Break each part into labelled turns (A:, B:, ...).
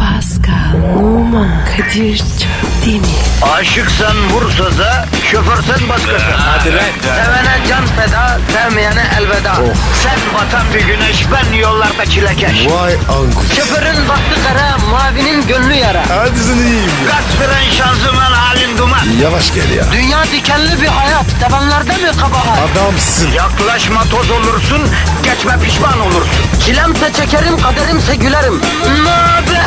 A: Pascal, Oman, Kadir çok değil mi?
B: Aşıksan vursa da şoförsen başkasın. Hadi
C: lan.
B: Sevene can feda, sevmeyene elveda. Sen batan bir güneş, ben yollarda çilekeş.
C: Vay anku.
B: Şoförün baktı kara, mavinin gönlü yara.
C: Hadi sen iyiyim ya.
B: Kasperen şanzıman halin duman.
C: Yavaş gel ya.
B: Dünya dikenli bir hayat, sevenlerde mi kabahar?
C: Adamsın.
B: Yaklaşma toz olursun, geçme pişman olursun. Çilemse çekerim, kaderimse gülerim. Möber!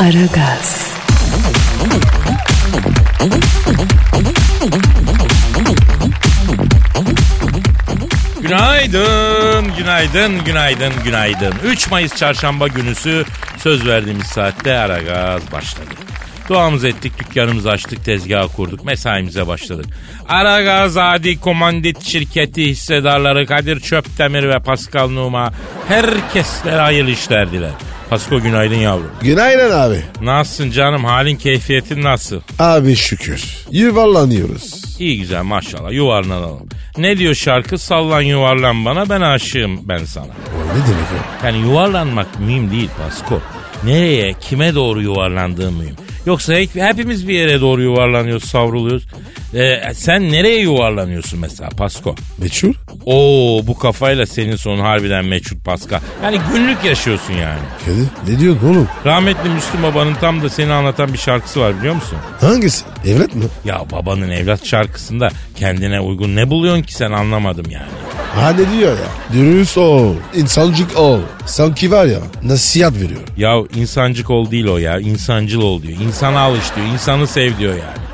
A: Aragaz,
D: Günaydın, günaydın, günaydın, günaydın. 3 Mayıs çarşamba günüsü söz verdiğimiz saatte ara gaz başladı. Duamızı ettik, dükkanımızı açtık, tezgahı kurduk, mesaimize başladık. Aragaz Adi Komandit Şirketi hissedarları Kadir Çöptemir ve Pascal Numa herkeslere hayırlı işler diler. Pasko günaydın yavrum.
C: Günaydın abi.
D: Nasılsın canım, halin keyfiyetin nasıl?
C: Abi şükür. Yuvarlanıyoruz.
D: İyi güzel maşallah yuvarlanalım. Ne diyor şarkı? Sallan yuvarlan bana ben aşığım ben sana.
C: O ne demek o?
D: Yani yuvarlanmak mühim değil Pasko. Nereye, kime doğru yuvarlandığım mühim. Yoksa hep, hepimiz bir yere doğru yuvarlanıyoruz, savruluyoruz. Ee, sen nereye yuvarlanıyorsun mesela Pasko?
C: Meçhul?
D: Oo bu kafayla senin sonun harbiden meçhul Paska. Yani günlük yaşıyorsun yani.
C: Kadir ne diyorsun oğlum?
D: Rahmetli Müslüm Baba'nın tam da seni anlatan bir şarkısı var biliyor musun?
C: Hangisi? Evlat mı?
D: Ya babanın evlat şarkısında kendine uygun ne buluyorsun ki sen anlamadım yani.
C: Ha ne diyor ya? Dürüst ol. insancık ol. Sanki var ya nasihat veriyor.
D: Ya insancık ol değil o ya. insancıl ol diyor. İnsana alış diyor. insanı sev diyor yani.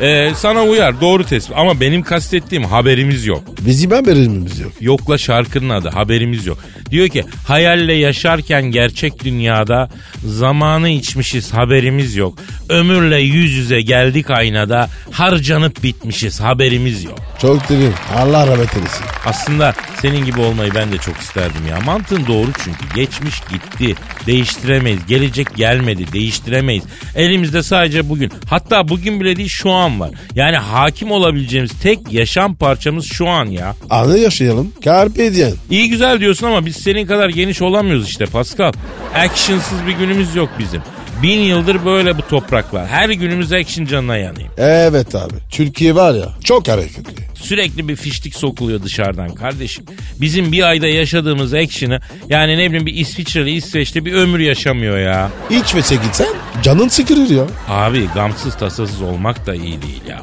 D: Ee, sana uyar doğru tespit ama benim kastettiğim haberimiz yok.
C: Bizim haberimiz yok.
D: Yokla şarkının adı haberimiz yok. Diyor ki hayalle yaşarken gerçek dünyada zamanı içmişiz haberimiz yok. Ömürle yüz yüze geldik aynada harcanıp bitmişiz haberimiz yok.
C: Çok derin. Allah rahmet eylesin.
D: Aslında senin gibi olmayı ben de çok isterdim ya. Mantığın doğru çünkü. Geçmiş gitti. Değiştiremeyiz. Gelecek gelmedi. Değiştiremeyiz. Elimizde sadece bugün. Hatta bugün bile değil şu an var. Yani hakim olabileceğimiz tek yaşam parçamız şu an ya.
C: Anı yaşayalım. Carpe diem.
D: İyi güzel diyorsun ama biz senin kadar geniş olamıyoruz işte Pascal. Action'sız bir günümüz yok bizim. Bin yıldır böyle bu topraklar. Her günümüz action canına yanayım.
C: Evet abi. Türkiye var ya çok hareketli.
D: Sürekli bir fiştik sokuluyor dışarıdan kardeşim. Bizim bir ayda yaşadığımız action'ı yani ne bileyim bir İsviçreli İsveçli bir ömür yaşamıyor ya.
C: İçmese gitsen canın sıkılır ya.
D: Abi gamsız tasasız olmak da iyi değil ya.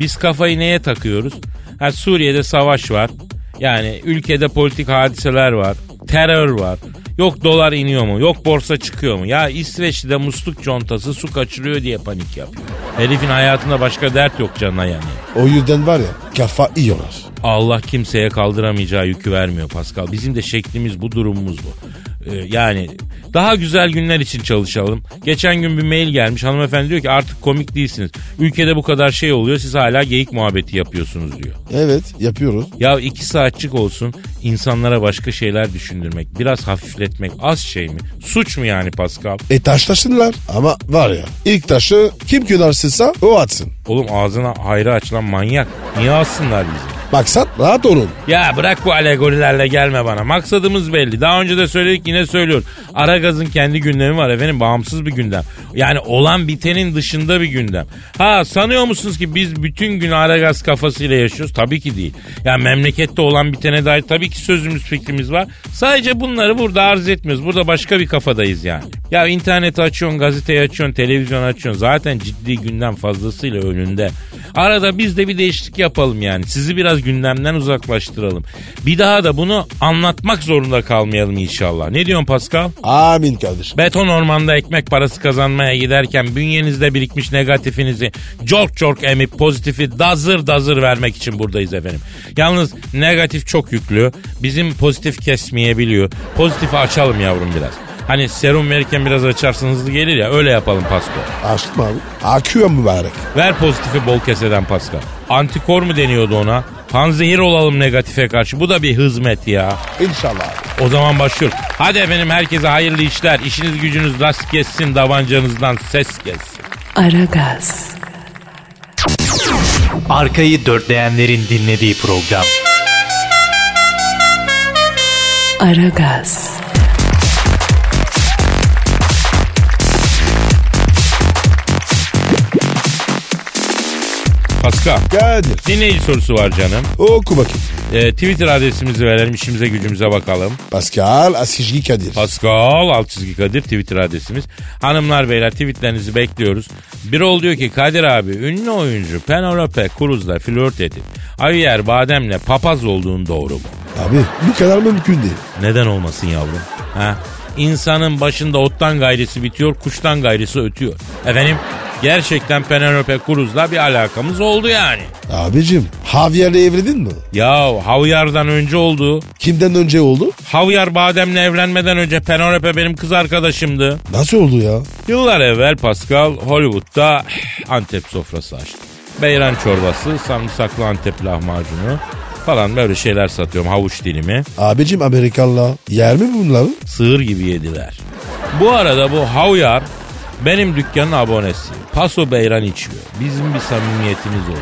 D: Biz kafayı neye takıyoruz? Ha, Suriye'de savaş var. Yani ülkede politik hadiseler var. Terör var. Yok dolar iniyor mu? Yok borsa çıkıyor mu? Ya İsveçli'de musluk contası su kaçırıyor diye panik yapıyor. Herifin hayatında başka dert yok canına yanıyor.
C: O yüzden var ya kafa yiyorlar.
D: Allah kimseye kaldıramayacağı yükü vermiyor Pascal. Bizim de şeklimiz bu, durumumuz bu. Ee, yani daha güzel günler için çalışalım. Geçen gün bir mail gelmiş. Hanımefendi diyor ki artık komik değilsiniz. Ülkede bu kadar şey oluyor. Siz hala geyik muhabbeti yapıyorsunuz diyor.
C: Evet yapıyoruz.
D: Ya iki saatçik olsun insanlara başka şeyler düşündürmek, biraz hafifletmek az şey mi? Suç mu yani Pascal?
C: E taş taşınlar ama var ya ilk taşı kim kınarsınsa o atsın.
D: Oğlum ağzına hayra açılan manyak. Niye alsınlar bizi?
C: Maksat rahat olun.
D: Ya bırak bu alegorilerle gelme bana. Maksadımız belli. Daha önce de söyledik yine söylüyorum. Aragaz'ın kendi gündemi var efendim. Bağımsız bir gündem. Yani olan bitenin dışında bir gündem. Ha sanıyor musunuz ki biz bütün gün Aragaz kafasıyla yaşıyoruz? Tabii ki değil. Ya memlekette olan bitene dair tabii ki sözümüz fikrimiz var. Sadece bunları burada arz etmiyoruz. Burada başka bir kafadayız yani. Ya interneti açıyorsun, gazeteyi açıyorsun, televizyon açıyorsun. Zaten ciddi gündem fazlasıyla önünde. Arada biz de bir değişiklik yapalım yani. Sizi biraz gündemden uzaklaştıralım. Bir daha da bunu anlatmak zorunda kalmayalım inşallah. Ne diyorsun Pascal?
C: Amin kardeşim.
D: Beton ormanda ekmek parası kazanmaya giderken bünyenizde birikmiş negatifinizi çok çok emip pozitifi dazır dazır vermek için buradayız efendim. Yalnız negatif çok yüklü. Bizim pozitif kesmeyebiliyor. Pozitifi açalım yavrum biraz. Hani serum verirken biraz açarsın hızlı gelir ya öyle yapalım Pascal.
C: Açtım abi. Akıyor mübarek.
D: Ver pozitifi bol keseden Pascal. Antikor mu deniyordu ona? Panzehir olalım negatife karşı. Bu da bir hizmet ya.
C: İnşallah abi.
D: O zaman başlıyor. Hadi efendim herkese hayırlı işler. İşiniz gücünüz rast kessin. Davancanızdan ses gelsin.
A: Aragaz,
E: Arkayı dörtleyenlerin dinlediği program.
A: Aragaz,
D: Pascal.
C: Kadir
D: Dinleyici sorusu var canım.
C: oku bakayım.
D: Ee, Twitter adresimizi verelim işimize gücümüze bakalım.
C: Pascal Askizgi Kadir.
D: Pascal alt çizgi Kadir Twitter adresimiz. Hanımlar beyler tweetlerinizi bekliyoruz. Bir ol diyor ki Kadir abi ünlü oyuncu Penelope Cruz'la flört edip Javier Badem'le papaz olduğun doğru mu?
C: Abi bu kadar mümkün değil.
D: Neden olmasın yavrum? Ha? İnsanın başında ottan gayresi bitiyor, kuştan gayresi ötüyor. Efendim gerçekten Penelope Cruz'la bir alakamız oldu yani.
C: Abicim Javier'le evlendin mi?
D: Ya Havyar'dan önce oldu.
C: Kimden önce oldu?
D: Havyar Badem'le evlenmeden önce Penelope benim kız arkadaşımdı.
C: Nasıl oldu ya?
D: Yıllar evvel Pascal Hollywood'da eh, Antep sofrası açtı. Beyran çorbası, sarımsaklı Antep lahmacunu falan böyle şeyler satıyorum havuç dilimi.
C: Abicim Amerikalılar yer mi bunları?
D: Sığır gibi yediler. Bu arada bu havyar benim dükkanın abonesi. Paso Beyran içiyor. Bizim bir samimiyetimiz oldu.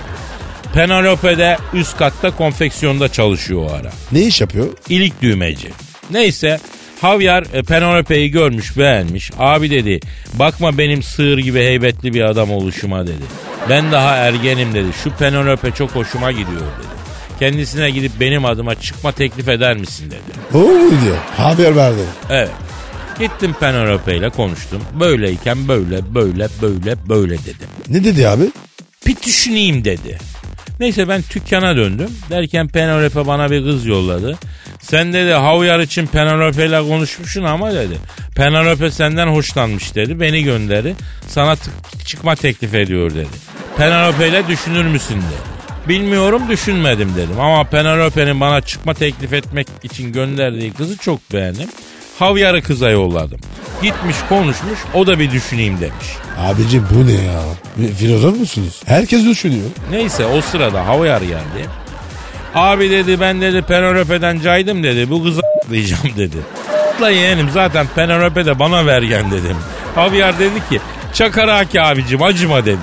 D: Penelope'de üst katta konfeksiyonda çalışıyor o ara.
C: Ne iş yapıyor?
D: İlik düğmeci. Neyse Havyar e, Penelope'yi görmüş beğenmiş. Abi dedi bakma benim sığır gibi heybetli bir adam oluşuma dedi. Ben daha ergenim dedi. Şu Penelope çok hoşuma gidiyor dedi. Kendisine gidip benim adıma çıkma teklif eder misin dedi.
C: Oo diyor. Haber verdi.
D: Evet. Gittim Penelope ile konuştum. Böyleyken böyle böyle böyle böyle dedim.
C: Ne dedi abi?
D: Bir düşüneyim dedi. Neyse ben dükkana döndüm. Derken Penelope bana bir kız yolladı. Sen dedi Havyar için Penelope ile konuşmuşsun ama dedi. Penelope senden hoşlanmış dedi. Beni gönderi. Sana t- çıkma teklif ediyor dedi. Penelope ile düşünür müsün dedi. Bilmiyorum düşünmedim dedim. Ama Penelope'nin bana çıkma teklif etmek için gönderdiği kızı çok beğendim. Havyar'ı kıza yolladım. Gitmiş konuşmuş o da bir düşüneyim demiş.
C: Abicim bu ne ya? Bir Filozof musunuz? Herkes düşünüyor.
D: Neyse o sırada Havyar geldi. Abi dedi ben dedi Penelope'den caydım dedi. Bu kızı diyeceğim dedi. La yeğenim zaten Penelope de bana vergen dedim. Havyar dedi ki çakaraki abicim acıma dedi.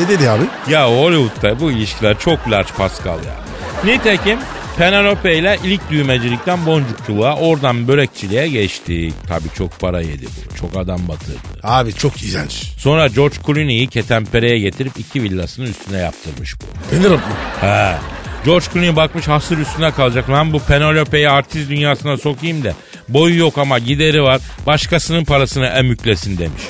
C: Ne dedi abi?
D: Ya Hollywood'da bu ilişkiler çok large Pascal ya. Nitekim Penelope ile ilk düğmecilikten boncukçuluğa oradan börekçiliğe geçtik. Tabii çok para yedi bu. Çok adam batırdı.
C: Abi çok iğrenç.
D: Sonra George Clooney'i ketempereye getirip iki villasının üstüne yaptırmış bu.
C: Beni mı?
D: He. George Clooney bakmış hasır üstüne kalacak. Lan bu Penelope'yi artist dünyasına sokayım da boyu yok ama gideri var. Başkasının parasını emüklesin demiş.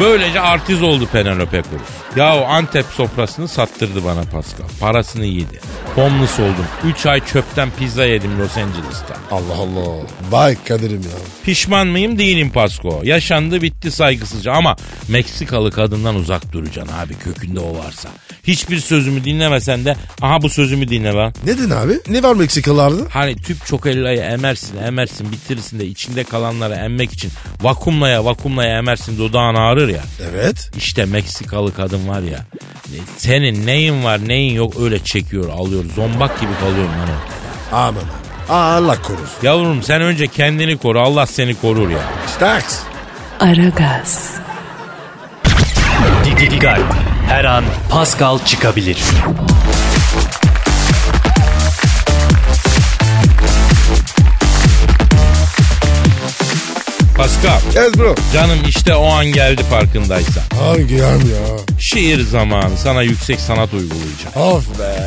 D: Böylece artist oldu Penelope Cruz. Yahu Antep sofrasını sattırdı bana Pascal. Parasını yedi. Homeless oldum. 3 ay çöpten pizza yedim Los Angeles'ta.
C: Allah Allah. Vay Kadir'im ya.
D: Pişman mıyım değilim Pasko. Yaşandı bitti saygısızca ama Meksikalı kadından uzak duracaksın abi kökünde o varsa. Hiçbir sözümü dinlemesen de aha bu sözümü dinle lan.
C: Neden abi? Ne var Meksikalarda?
D: Hani tüp çokellayı emersin emersin bitirirsin de içinde kalanları emmek için vakumlaya vakumlaya emersin dudağın ağrır ya.
C: Evet.
D: İşte Meksikalı kadın var ya. e, Senin neyin var neyin yok öyle çekiyor alıyor. Zombak gibi kalıyorsun lan orada.
C: Aman abi. Aa, Allah korusun.
D: Yavrum sen önce kendini koru Allah seni korur ya.
C: Staks.
A: Aragaz,
E: Didi Gal. Her an Pascal çıkabilir.
D: Pascal
C: Yes bro.
D: canım işte o an geldi farkındaysan.
C: Hangi yan ya?
D: Şiir zamanı sana yüksek sanat uygulayacağım.
C: Of be.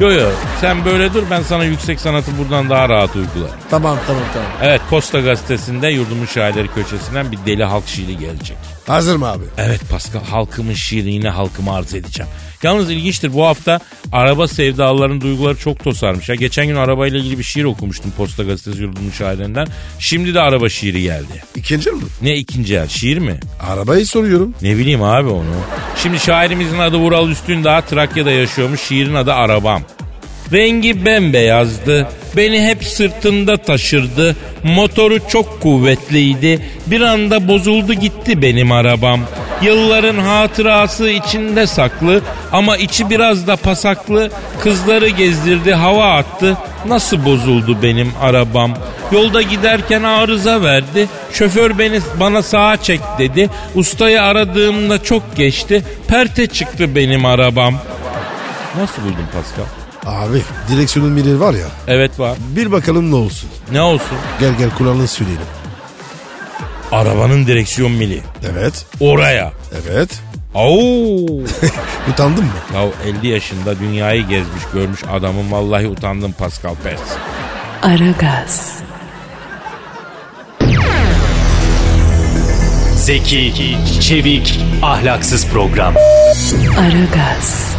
D: Yo yo sen böyle dur ben sana yüksek sanatı buradan daha rahat uygularım.
C: Tamam tamam tamam.
D: Evet Posta Gazetesi'nde yurdumun şairleri köşesinden bir deli halk şiiri gelecek.
C: Hazır mı abi?
D: Evet Pascal halkımın şiirini yine halkıma arz edeceğim. Yalnız ilginçtir bu hafta araba sevdalıların duyguları çok tosarmış. Ya geçen gün arabayla ilgili bir şiir okumuştum Posta Gazetesi yurdumun şairlerinden. Şimdi de araba şiiri geldi.
C: İkinci mi?
D: Ne ikinci el şiir mi?
C: Arabayı soruyorum.
D: Ne bileyim abi onu. Şimdi şairimizin adı Vural Üstündağ Trakya'da yaşıyormuş. Şiirin adı Arabam. Rengi bembeyazdı. Beni hep sırtında taşırdı. Motoru çok kuvvetliydi. Bir anda bozuldu gitti benim arabam. Yılların hatırası içinde saklı ama içi biraz da pasaklı. Kızları gezdirdi, hava attı. Nasıl bozuldu benim arabam? Yolda giderken arıza verdi. Şoför beni bana sağa çek dedi. Ustayı aradığımda çok geçti. Perte çıktı benim arabam. Nasıl buldun Pascal?
C: Abi direksiyonun biri var ya.
D: Evet var.
C: Bir bakalım ne olsun.
D: Ne olsun?
C: Gel gel kulağını söyleyelim.
D: Arabanın direksiyon mili.
C: Evet.
D: Oraya.
C: Evet.
D: Oo.
C: Utandın mı?
D: Ya 50 yaşında dünyayı gezmiş görmüş adamın vallahi utandım Pascal Pers.
A: Aragaz,
E: Zeki, çevik, ahlaksız program.
A: Aragaz,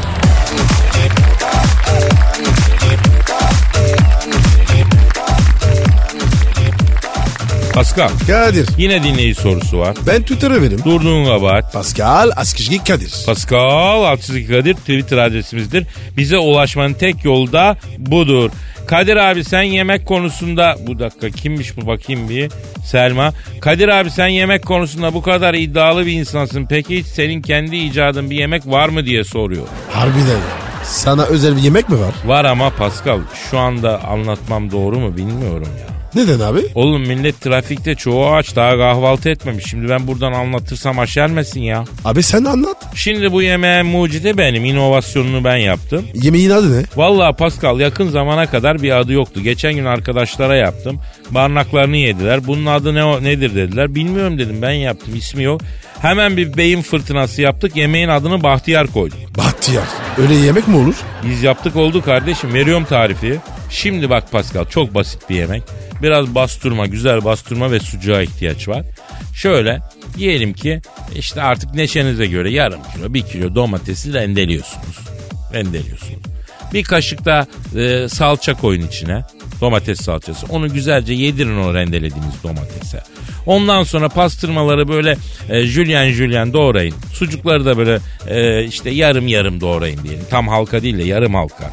D: Pascal
C: Kadir.
D: yine dinleyici sorusu var.
C: Ben Twitter'ı verim.
D: Durduğun kabahat.
C: Pascal Askışgi Kadir.
D: Pascal Altçizgi Kadir Twitter adresimizdir. Bize ulaşmanın tek yolu da budur. Kadir abi sen yemek konusunda bu dakika kimmiş bu bakayım bir Selma. Kadir abi sen yemek konusunda bu kadar iddialı bir insansın. Peki hiç senin kendi icadın bir yemek var mı diye soruyor.
C: Harbiden ya. Sana özel bir yemek mi var?
D: Var ama Pascal şu anda anlatmam doğru mu bilmiyorum ya.
C: Neden abi?
D: Oğlum millet trafikte çoğu aç daha kahvaltı etmemiş. Şimdi ben buradan anlatırsam aşermesin ya.
C: Abi sen anlat.
D: Şimdi bu yemeğin mucidi benim. inovasyonunu ben yaptım.
C: Yemeğin adı ne?
D: Vallahi Pascal yakın zamana kadar bir adı yoktu. Geçen gün arkadaşlara yaptım. Barnaklarını yediler. Bunun adı ne o- nedir dediler. Bilmiyorum dedim ben yaptım ismi yok. Hemen bir beyin fırtınası yaptık. Yemeğin adını Bahtiyar koyduk.
C: Bahtiyar. Öyle yemek mi olur?
D: Biz yaptık oldu kardeşim. Veriyorum tarifi. Şimdi bak Pascal çok basit bir yemek. Biraz bastırma, güzel bastırma ve sucuğa ihtiyaç var. Şöyle diyelim ki işte artık neşenize göre yarım kilo, bir kilo domatesi rendeliyorsunuz. Rendeliyorsunuz. Bir kaşık da e, salça koyun içine. Domates salçası. Onu güzelce yedirin o rendelediğiniz domatese. Ondan sonra pastırmaları böyle e, jülyen jülyen doğrayın. Sucukları da böyle e, işte yarım yarım doğrayın diyelim. Tam halka değil de yarım halka.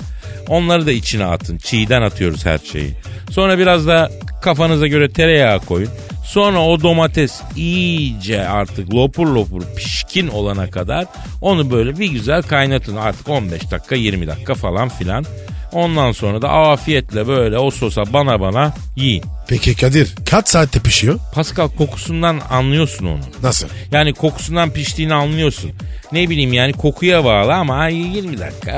D: Onları da içine atın. Çiğden atıyoruz her şeyi. Sonra biraz da kafanıza göre tereyağı koyun. Sonra o domates iyice artık lopur lopur pişkin olana kadar onu böyle bir güzel kaynatın. Artık 15 dakika 20 dakika falan filan. Ondan sonra da afiyetle böyle o sosa bana bana yiyin.
C: Peki Kadir kaç saatte pişiyor?
D: Pascal kokusundan anlıyorsun onu.
C: Nasıl?
D: Yani kokusundan piştiğini anlıyorsun. Ne bileyim yani kokuya bağlı ama ay 20 dakika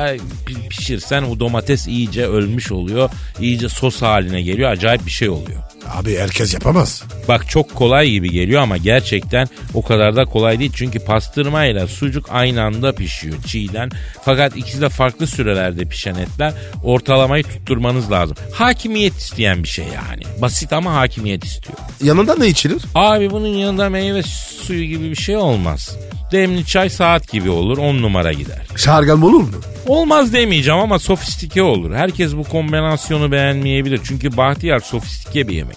D: pi- pişirsen o domates iyice ölmüş oluyor. İyice sos haline geliyor. Acayip bir şey oluyor.
C: Abi herkes yapamaz.
D: Bak çok kolay gibi geliyor ama gerçekten o kadar da kolay değil. Çünkü pastırmayla sucuk aynı anda pişiyor çiğden. Fakat ikisi de farklı sürelerde pişen etler. Ortalamayı tutturmanız lazım. Hakimiyet isteyen bir şey yani. Basit ama hakimiyet istiyor.
C: Yanında ne içilir?
D: Abi bunun yanında meyve suyu gibi bir şey olmaz. Demli çay saat gibi olur on numara gider.
C: Şargan olur mu?
D: Olmaz demeyeceğim ama sofistike olur. Herkes bu kombinasyonu beğenmeyebilir. Çünkü bahtiyar sofistike bir yemek.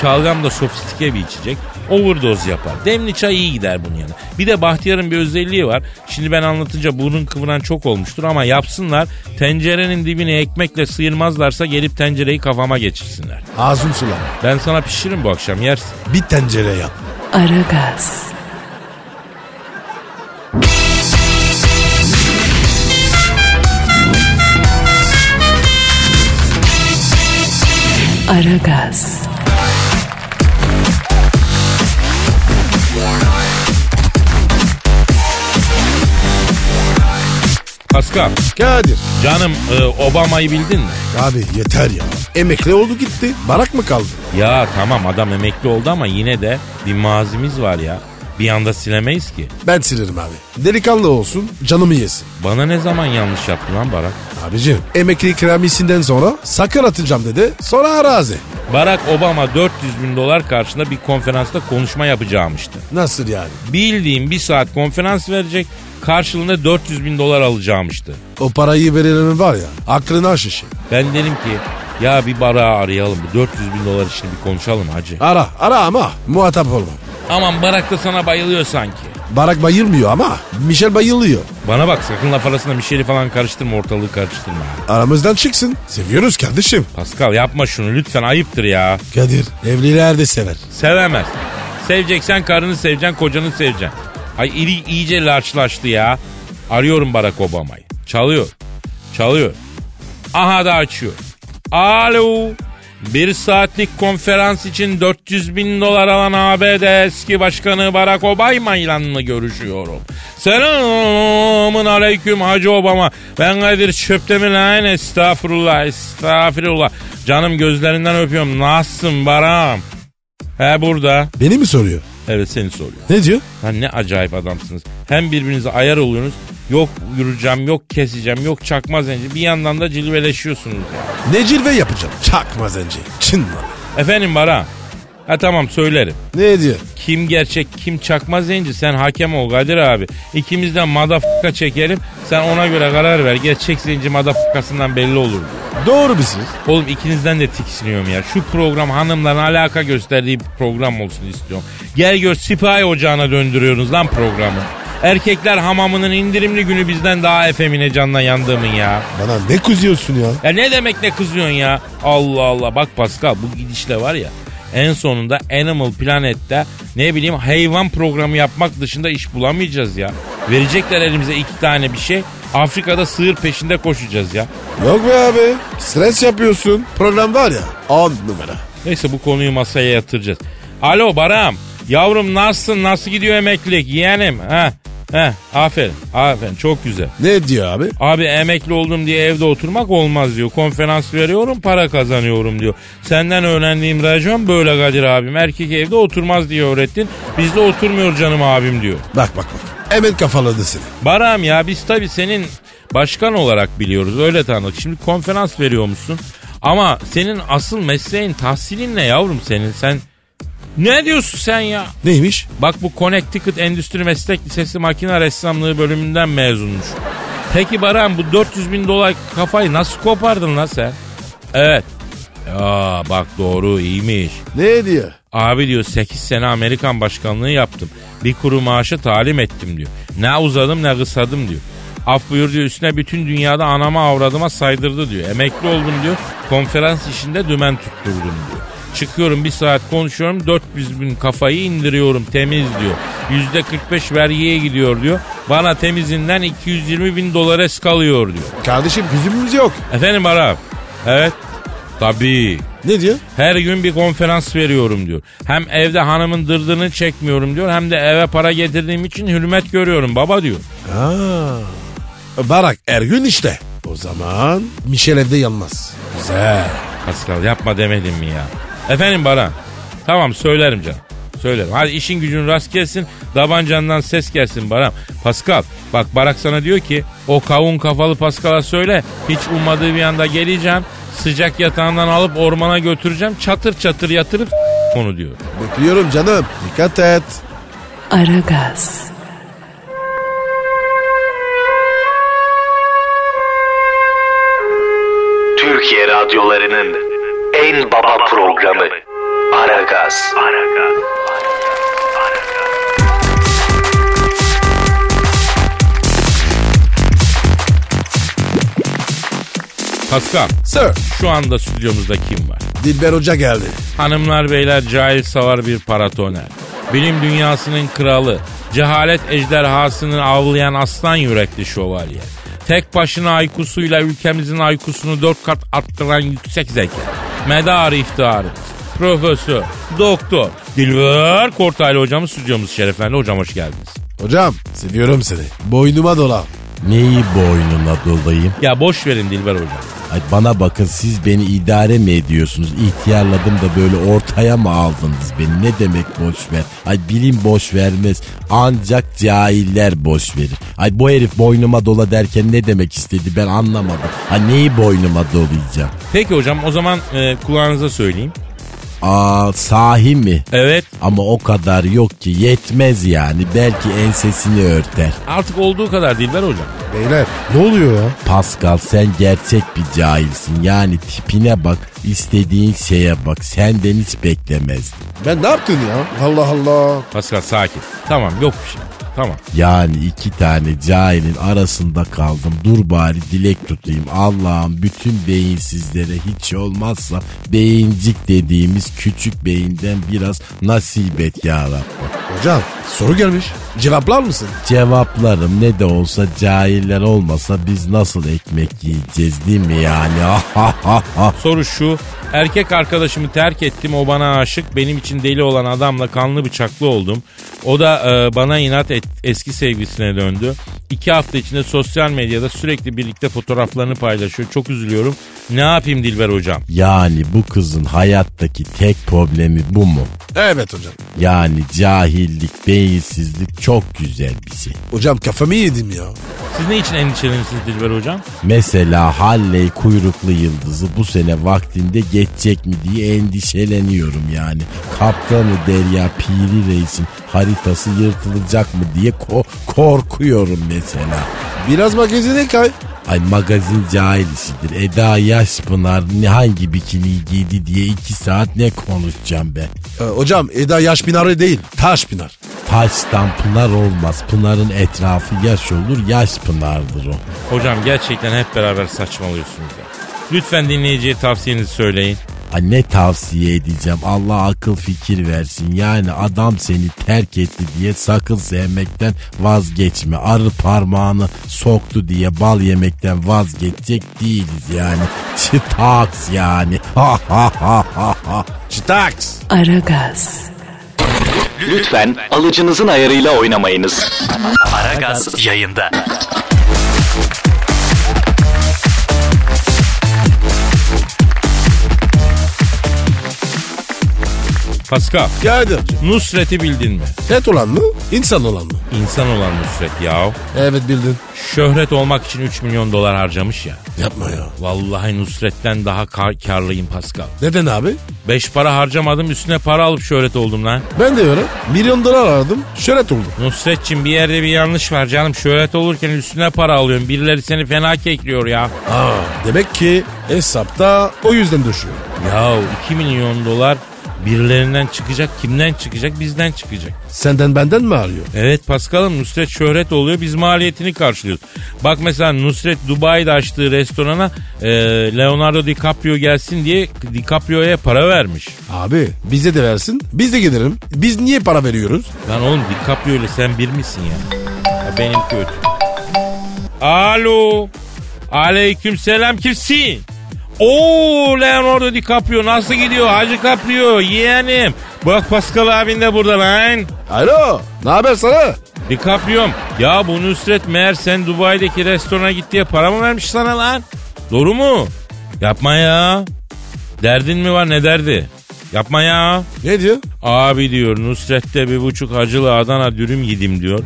D: Şalgam da sofistike bir içecek. Overdose yapar. Demli çay iyi gider bunun yanına. Bir de bahtiyarın bir özelliği var. Şimdi ben anlatınca burnun kıvıran çok olmuştur ama yapsınlar. Tencerenin dibini ekmekle sıyırmazlarsa gelip tencereyi kafama geçirsinler.
C: Ağzım sulandı.
D: Ben sana pişiririm bu akşam yersin.
C: Bir tencere yap.
A: Aragaz, Aragaz,
D: Pascal.
C: Kadir.
D: Canım e, Obama'yı bildin mi?
C: Abi yeter ya. Emekli oldu gitti. Barak mı kaldı?
D: Ya tamam adam emekli oldu ama yine de bir mazimiz var ya. Bir anda silemeyiz ki.
C: Ben silerim abi. Delikanlı olsun canımı yesin.
D: Bana ne zaman yanlış yaptı lan Barak?
C: Abicim emekli ikramiyesinden sonra sakın atacağım dedi. Sonra arazi.
D: Barack Obama 400 bin dolar karşında bir konferansta konuşma yapacağımıştı.
C: Nasıl yani?
D: Bildiğim bir saat konferans verecek karşılığında 400 bin dolar alacağımıştı.
C: O parayı verenin var ya aklına şişi.
D: Ben dedim ki ya bir Barak'ı arayalım bu 400 bin dolar işini bir konuşalım hacı.
C: Ara ara ama muhatap olma.
D: Aman Barak da sana bayılıyor sanki.
C: Barak bayılmıyor ama Michel bayılıyor.
D: Bana bak sakın laf arasında bir şeyi falan karıştırma ortalığı karıştırma.
C: Aramızdan çıksın. Seviyoruz kardeşim.
D: Pascal yapma şunu lütfen ayıptır ya.
C: Kadir evliler de sever.
D: Sevemez. Seveceksen karını seveceksin, kocanı seveceksin. Ay iri iyice larçlaştı ya. Arıyorum Barack Obama'yı. Çalıyor. Çalıyor. Aha da açıyor. Alo. Bir saatlik konferans için 400 bin dolar alan ABD eski başkanı Barack Obama ile görüşüyorum. Selamun aleyküm Hacı Obama. Ben Kadir Çöptemir lan estağfurullah estağfurullah. Canım gözlerinden öpüyorum. Nasılsın Barak'ım? He burada.
C: Beni mi soruyor?
D: Evet seni soruyor.
C: Ne diyor?
D: Ha ne acayip adamsınız. Hem birbirinize ayar oluyorsunuz. Yok yürüyeceğim, yok keseceğim, yok çakma zenci. Bir yandan da cilveleşiyorsunuz.
C: Ne cilve yapacağım? Çakma zenci. Çin lan.
D: Efendim Bara. Ha tamam söylerim.
C: Ne diyor?
D: Kim gerçek kim çakma zenci sen hakem ol Kadir abi. İkimiz de madafaka çekelim. Sen ona göre karar ver. Gerçek zenci madafakasından belli olur.
C: Doğru musun?
D: Oğlum ikinizden de tiksiniyorum ya. Şu program hanımların alaka gösterdiği bir program olsun istiyorum. Gel gör sipahi ocağına döndürüyorsunuz lan programı. Erkekler hamamının indirimli günü bizden daha efemine canla yandığımın ya.
C: Bana ne kızıyorsun ya?
D: Ya ne demek ne kızıyorsun ya? Allah Allah bak Pascal bu gidişle var ya. En sonunda Animal Planet'te ne bileyim hayvan programı yapmak dışında iş bulamayacağız ya. Verecekler elimize iki tane bir şey. Afrika'da sığır peşinde koşacağız ya.
C: Yok be abi. Stres yapıyorsun. Program var ya. 10 numara.
D: Neyse bu konuyu masaya yatıracağız. Alo Baram. Yavrum nasılsın? Nasıl gidiyor emeklilik? Yeğenim. Ha. He, aferin, aferin çok güzel.
C: Ne diyor abi?
D: Abi emekli oldum diye evde oturmak olmaz diyor. Konferans veriyorum para kazanıyorum diyor. Senden öğrendiğim racon böyle Kadir abim. Erkek evde oturmaz diye öğrettin. Bizde oturmuyor canım abim diyor.
C: Bak bak bak. Hemen kafaladı seni.
D: Baram ya biz tabii senin başkan olarak biliyoruz öyle tanıdık. Şimdi konferans veriyormuşsun ama senin asıl mesleğin tahsilin ne yavrum senin sen ne diyorsun sen ya?
C: Neymiş?
D: Bak bu Connecticut Endüstri Meslek Lisesi Makine Ressamlığı bölümünden mezunmuş. Peki Baran bu 400 bin dolar kafayı nasıl kopardın lan sen? Evet. Ya bak doğru iyiymiş.
C: Ne diyor?
D: Abi diyor 8 sene Amerikan başkanlığı yaptım. Bir kuru maaşı talim ettim diyor. Ne uzadım ne kısadım diyor. Af buyur diyor üstüne bütün dünyada anama avradıma saydırdı diyor. Emekli oldum diyor. Konferans işinde dümen tutturdum diyor. Çıkıyorum bir saat konuşuyorum 400 bin kafayı indiriyorum temiz diyor. Yüzde 45 vergiye gidiyor diyor. Bana temizinden 220 bin dolar es kalıyor diyor.
C: Kardeşim yüzümüz yok.
D: Efendim Arap. Evet. Tabii.
C: Ne diyor?
D: Her gün bir konferans veriyorum diyor. Hem evde hanımın dırdırını çekmiyorum diyor. Hem de eve para getirdiğim için hürmet görüyorum baba diyor.
C: Aa. Barak Ergün işte. O zaman Michel evde yanmaz. Güzel.
D: Pascal yapma demedim mi ya? Efendim Baran. Tamam söylerim canım. Söylerim. Hadi işin gücün rast gelsin. Davancandan ses gelsin Baran. Pascal bak Barak sana diyor ki o kavun kafalı Pascal'a söyle. Hiç ummadığı bir anda geleceğim. Sıcak yatağından alıp ormana götüreceğim. Çatır çatır yatırıp onu diyor.
C: Bekliyorum canım. Dikkat et.
A: Aragaz.
E: Türkiye radyolarının en baba programı Aragaz.
D: Pascal
C: Sir.
D: şu anda stüdyomuzda kim var?
C: Dilber Hoca geldi.
D: Hanımlar beyler cahil savar bir paratoner. Bilim dünyasının kralı, cehalet ejderhasını avlayan aslan yürekli şövalye. Tek başına aykusuyla ülkemizin aykusunu dört kat arttıran yüksek zeka. Medar iftiharı. Profesör, doktor, Dilber Kortaylı hocamız stüdyomuz şereflendi. Hocam hoş geldiniz.
C: Hocam seviyorum seni. Boynuma dola.
F: Neyi boynuna dolayım?
D: Ya boş verin Dilber hocam.
F: Ay bana bakın siz beni idare mi ediyorsunuz? İhtiyarladım da böyle ortaya mı aldınız beni? Ne demek boş ver? Ay bilim boş vermez. Ancak cahiller boş verir. Ay bu herif boynuma dola derken ne demek istedi ben anlamadım. Ay neyi boynuma dolayacağım?
D: Peki hocam o zaman e, kulağınıza söyleyeyim.
F: Aa sahi mi?
D: Evet
F: Ama o kadar yok ki yetmez yani. Belki ensesini örter.
D: artık olduğu kadar Dilber hocam.
C: Beyler ne oluyor ya?
F: Pascal sen gerçek bir cahilsin. Yani tipine bak, istediğin şeye bak. Senden hiç beklemezdim.
C: Ben ne yaptın ya? Allah Allah.
D: Pascal sakin. Tamam yok bir şey. Tamam.
F: Yani iki tane cahilin arasında kaldım. Dur bari dilek tutayım. Allah'ım bütün beyinsizlere hiç olmazsa beyincik dediğimiz küçük beyinden biraz nasip et ya Rabbim.
C: Hocam soru gelmiş. Cevaplar mısın?
F: Cevaplarım ne de olsa cahiller olmasa biz nasıl ekmek yiyeceğiz değil mi yani?
D: Soru şu. Erkek arkadaşımı terk ettim. O bana aşık. Benim için deli olan adamla kanlı bıçaklı oldum. O da e, bana inat et, eski sevgilisine döndü. İki hafta içinde sosyal medyada sürekli birlikte fotoğraflarını paylaşıyor. Çok üzülüyorum. Ne yapayım Dilber hocam?
F: Yani bu kızın hayattaki tek problemi bu mu?
C: Evet hocam.
F: Yani cahillik, beyinsizlik çok güzel bir şey.
C: Hocam kafamı yedim ya.
D: Siz ne için endişelenirsiniz Dilber hocam?
F: Mesela Halley kuyruklu yıldızı bu sene vaktinde geçecek mi diye endişeleniyorum yani. Kaptanı Derya Piri Reis'in haritası yırtılacak mı diye ko- korkuyorum mesela.
C: Biraz magazine kay.
F: Ay magazin cahil işidir. Eda Yaşpınar ne hangi bikini giydi diye iki saat ne konuşacağım ben.
C: Ee, hocam Eda yaş pinarı değil taş pinar.
F: Taştan pınar olmaz. Pınarın etrafı yaş olur, yaş pınardır o.
D: Hocam gerçekten hep beraber saçmalıyorsunuz ya. Lütfen dinleyiciye tavsiyenizi söyleyin.
F: Ay ne tavsiye edeceğim Allah akıl fikir versin yani adam seni terk etti diye sakın sevmekten vazgeçme arı parmağını soktu diye bal yemekten vazgeçecek değiliz yani çıtaks yani ha ha ha ha ha
C: Çıtaks.
A: Aragaz,
E: Lütfen alıcınızın ayarıyla oynamayınız. Aragaz yayında.
D: Pascal,
C: Geldi.
D: Nusret'i bildin mi?
C: Et olan mı? İnsan olan mı?
D: İnsan olan Nusret ya.
C: Evet bildin.
D: Şöhret olmak için 3 milyon dolar harcamış ya.
C: Yapma ya.
D: Vallahi Nusret'ten daha kar- karlıyım Pascal.
C: Neden abi?
D: Beş para harcamadım üstüne para alıp şöhret oldum lan.
C: Ben de öyle. Milyon dolar aradım. Şöhret oldum.
D: Nusret'cim bir yerde bir yanlış var canım. Şöhret olurken üstüne para alıyorsun. Birileri seni fena kekliyor ya.
C: Aa, demek ki hesapta o yüzden düşüyor.
D: Ya 2 milyon dolar birilerinden çıkacak. Kimden çıkacak? Bizden çıkacak.
C: Senden benden mi arıyor?
D: Evet Paskal'ım Nusret şöhret oluyor. Biz maliyetini karşılıyoruz. Bak mesela Nusret Dubai'de açtığı restorana e, Leonardo DiCaprio gelsin diye DiCaprio'ya para vermiş.
C: Abi bize de versin. Biz de gidelim. Biz niye para veriyoruz?
D: Lan oğlum DiCaprio ile sen bir misin ya? ya benimki ötü. Alo. Aleyküm selam kimsin? Oo Leonardo DiCaprio nasıl gidiyor? Hacı Caprio yeğenim. Bak Pascal abin de burada lan.
C: Alo. Ne haber sana?
D: DiCaprio'm ya bu Nusret meğer sen Dubai'deki restorana git diye para mı vermiş sana lan? Doğru mu? Yapma ya. Derdin mi var ne derdi? Yapma ya.
C: Ne diyor?
D: Abi diyor Nusret'te bir buçuk acılı Adana dürüm yedim diyor.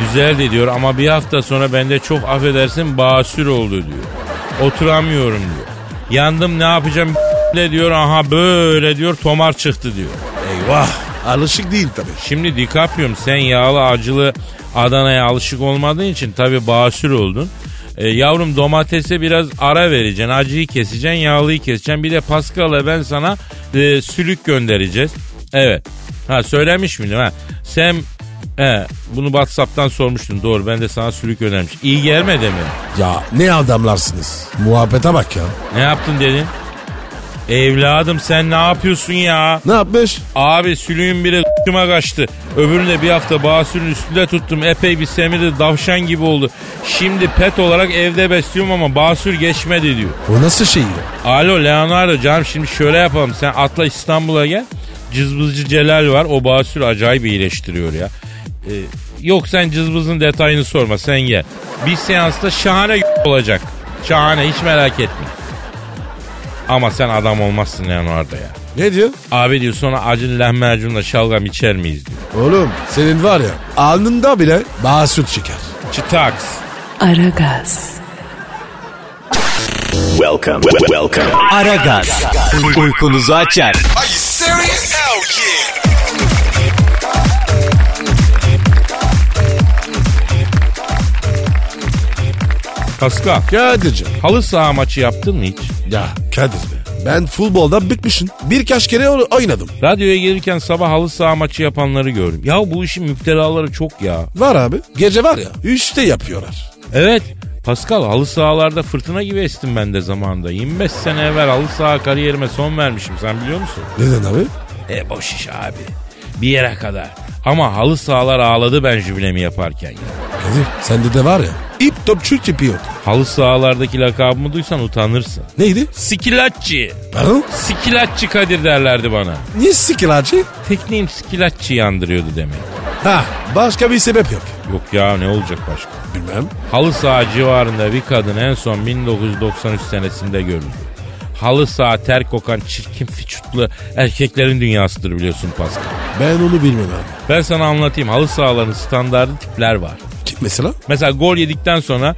D: Güzeldi diyor ama bir hafta sonra bende çok affedersin basür oldu diyor. Oturamıyorum diyor. Yandım ne yapacağım ne diyor aha böyle diyor tomar çıktı diyor.
C: Eyvah. Alışık değil tabii.
D: Şimdi DiCaprio'm sen yağlı acılı Adana'ya alışık olmadığın için tabi basür oldun. E, yavrum domatese biraz ara vereceksin. Acıyı keseceksin, yağlıyı keseceksin. Bir de Pascal'a ben sana e, sülük göndereceğiz. Evet. Ha söylemiş miydim ha? Sen he, bunu Whatsapp'tan sormuştun. Doğru ben de sana sülük göndermiş. İyi gelmedi mi?
C: Ya ne adamlarsınız. Muhabbete bak ya.
D: Ne yaptın dedin? Evladım sen ne yapıyorsun ya?
C: Ne yapmış?
D: Abi sülüğün biri kıma kaçtı. Öbürünü de bir hafta basürün üstünde tuttum. Epey bir semirdi davşan gibi oldu. Şimdi pet olarak evde besliyorum ama basür geçmedi diyor.
C: O nasıl şey ya?
D: Alo Leonardo canım şimdi şöyle yapalım. Sen atla İstanbul'a gel. Cızbızcı Celal var. O basür acayip iyileştiriyor ya. Ee, yok sen cızbızın detayını sorma sen gel. Bir seansta şahane olacak. Şahane hiç merak etme. Ama sen adam olmazsın Leonardo ya.
C: Ne diyor?
D: Abi diyor sonra acil lahmacunla şalgam içer miyiz diyor.
C: Oğlum senin var ya alnında bile basur çıkar.
D: Çıtaks.
A: Aragaz,
E: Welcome. Welcome. Aragaz. Uykunuzu açar.
D: Kaska.
C: Kadir'cim.
D: Halı saha maçı yaptın mı hiç?
C: Ya Kadir be. Ben futbolda bitmişim. Birkaç kere onu oynadım.
D: Radyoya gelirken sabah halı saha maçı yapanları gördüm. Ya bu işin müptelaları çok ya.
C: Var abi. Gece var ya. Üçte yapıyorlar.
D: Evet. Pascal halı sahalarda fırtına gibi estim ben de zamanında. 25 sene evvel halı saha kariyerime son vermişim sen biliyor musun?
C: Neden abi?
D: E boş iş abi. Bir yere kadar. Ama halı sahalar ağladı ben jübilemi yaparken ya.
C: Kadir sende de var ya. İp topçu tipi yok.
D: Halı sahalardaki lakabımı duysan utanırsın.
C: Neydi?
D: Sikilatçı.
C: Pardon?
D: Sikilatçı Kadir derlerdi bana.
C: Niye sikilacı?
D: Tekniğim sikilatçı yandırıyordu demek.
C: Ha başka bir sebep yok.
D: Yok ya ne olacak başka?
C: Bilmem.
D: Halı saha civarında bir kadın en son 1993 senesinde görüldü. halı saha ter kokan çirkin fiçutlu erkeklerin dünyasıdır biliyorsun Pascal.
C: Ben onu bilmem abi.
D: Ben sana anlatayım halı sahaların standardı tipler var.
C: Kim mesela?
D: Mesela gol yedikten sonra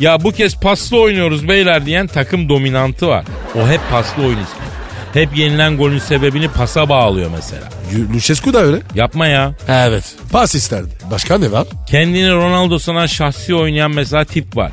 D: ya bu kez paslı oynuyoruz beyler diyen takım dominantı var. O hep paslı oyun istiyor. Hep yenilen golün sebebini pasa bağlıyor mesela.
C: Yu- Lucescu da öyle.
D: Yapma ya.
C: Evet. Pas isterdi. Başka ne var?
D: Kendini Ronaldo sanan şahsi oynayan mesela tip var.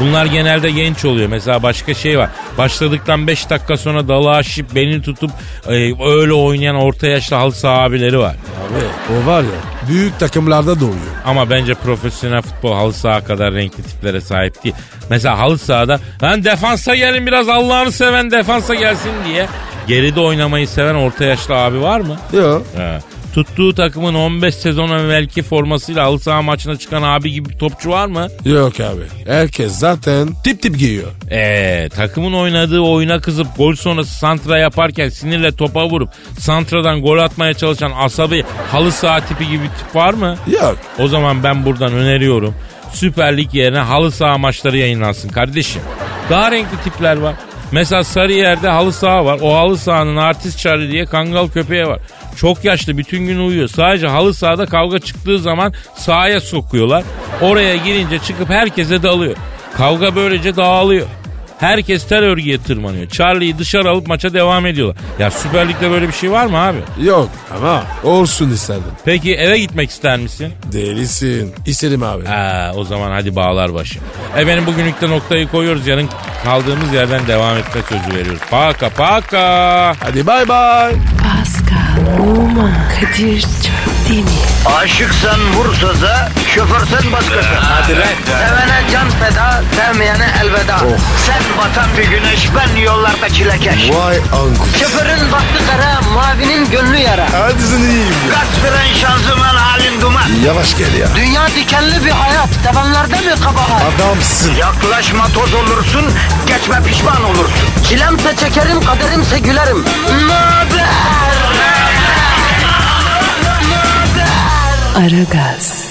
D: Bunlar genelde genç oluyor. Mesela başka şey var. Başladıktan 5 dakika sonra dala aşıp belini tutup e, öyle oynayan orta yaşlı halı saha abileri var.
C: Abi o var ya büyük takımlarda doğuyor.
D: Ama bence profesyonel futbol halı saha kadar renkli tiplere sahip değil. Mesela halı sahada lan defansa gelin biraz Allah'ını seven defansa gelsin diye. Geride oynamayı seven orta yaşlı abi var mı?
C: Yok.
D: He. Tuttuğu takımın 15 sezon evvelki formasıyla halı saha maçına çıkan abi gibi bir topçu var mı?
C: Yok abi. Herkes zaten tip tip giyiyor.
D: Ee, takımın oynadığı oyuna kızıp gol sonrası santra yaparken sinirle topa vurup santradan gol atmaya çalışan asabi halı saha tipi gibi bir tip var mı?
C: Yok.
D: O zaman ben buradan öneriyorum. Süper Lig yerine halı saha maçları yayınlansın kardeşim. Daha renkli tipler var. Mesela Sarıyer'de halı saha var. O halı sahanın artist çarı diye kangal köpeği var. Çok yaşlı bütün gün uyuyor. Sadece halı sahada kavga çıktığı zaman sahaya sokuyorlar. Oraya girince çıkıp herkese dalıyor. Kavga böylece dağılıyor. Herkes ter örgüye tırmanıyor. Charlie'yi dışarı alıp maça devam ediyorlar. Ya Süper Lig'de böyle bir şey var mı abi?
C: Yok ama olsun isterdim.
D: Peki eve gitmek ister misin?
C: Delisin. İsterim abi.
D: Ha, o zaman hadi bağlar başı. Efendim bugünlükte noktayı koyuyoruz. Yarın kaldığımız yerden devam etme sözü veriyoruz. Paka paka.
C: Hadi bay bay.
A: Pascal, Oman, Kadir çok değil mi?
B: Aşıksan vursa da, şoförsen başkasın. Hadi Sevene can feda, sevmeyene elveda. Sen batan bir güneş, ben yollarda çilekeş.
C: Vay anku.
B: Şoförün baktı kara, mavinin gönlü yara.
C: Hadi sen iyiyim ya.
B: Kasperen şanzıman halin duman.
C: Yavaş gel ya.
B: Dünya dikenli bir hayat, sevenlerde mi kabahar?
C: Adamsın.
B: Yaklaşma toz olursun, geçme pişman olursun. Çilemse çekerim, kaderimse gülerim. Möber!
A: Aragaz.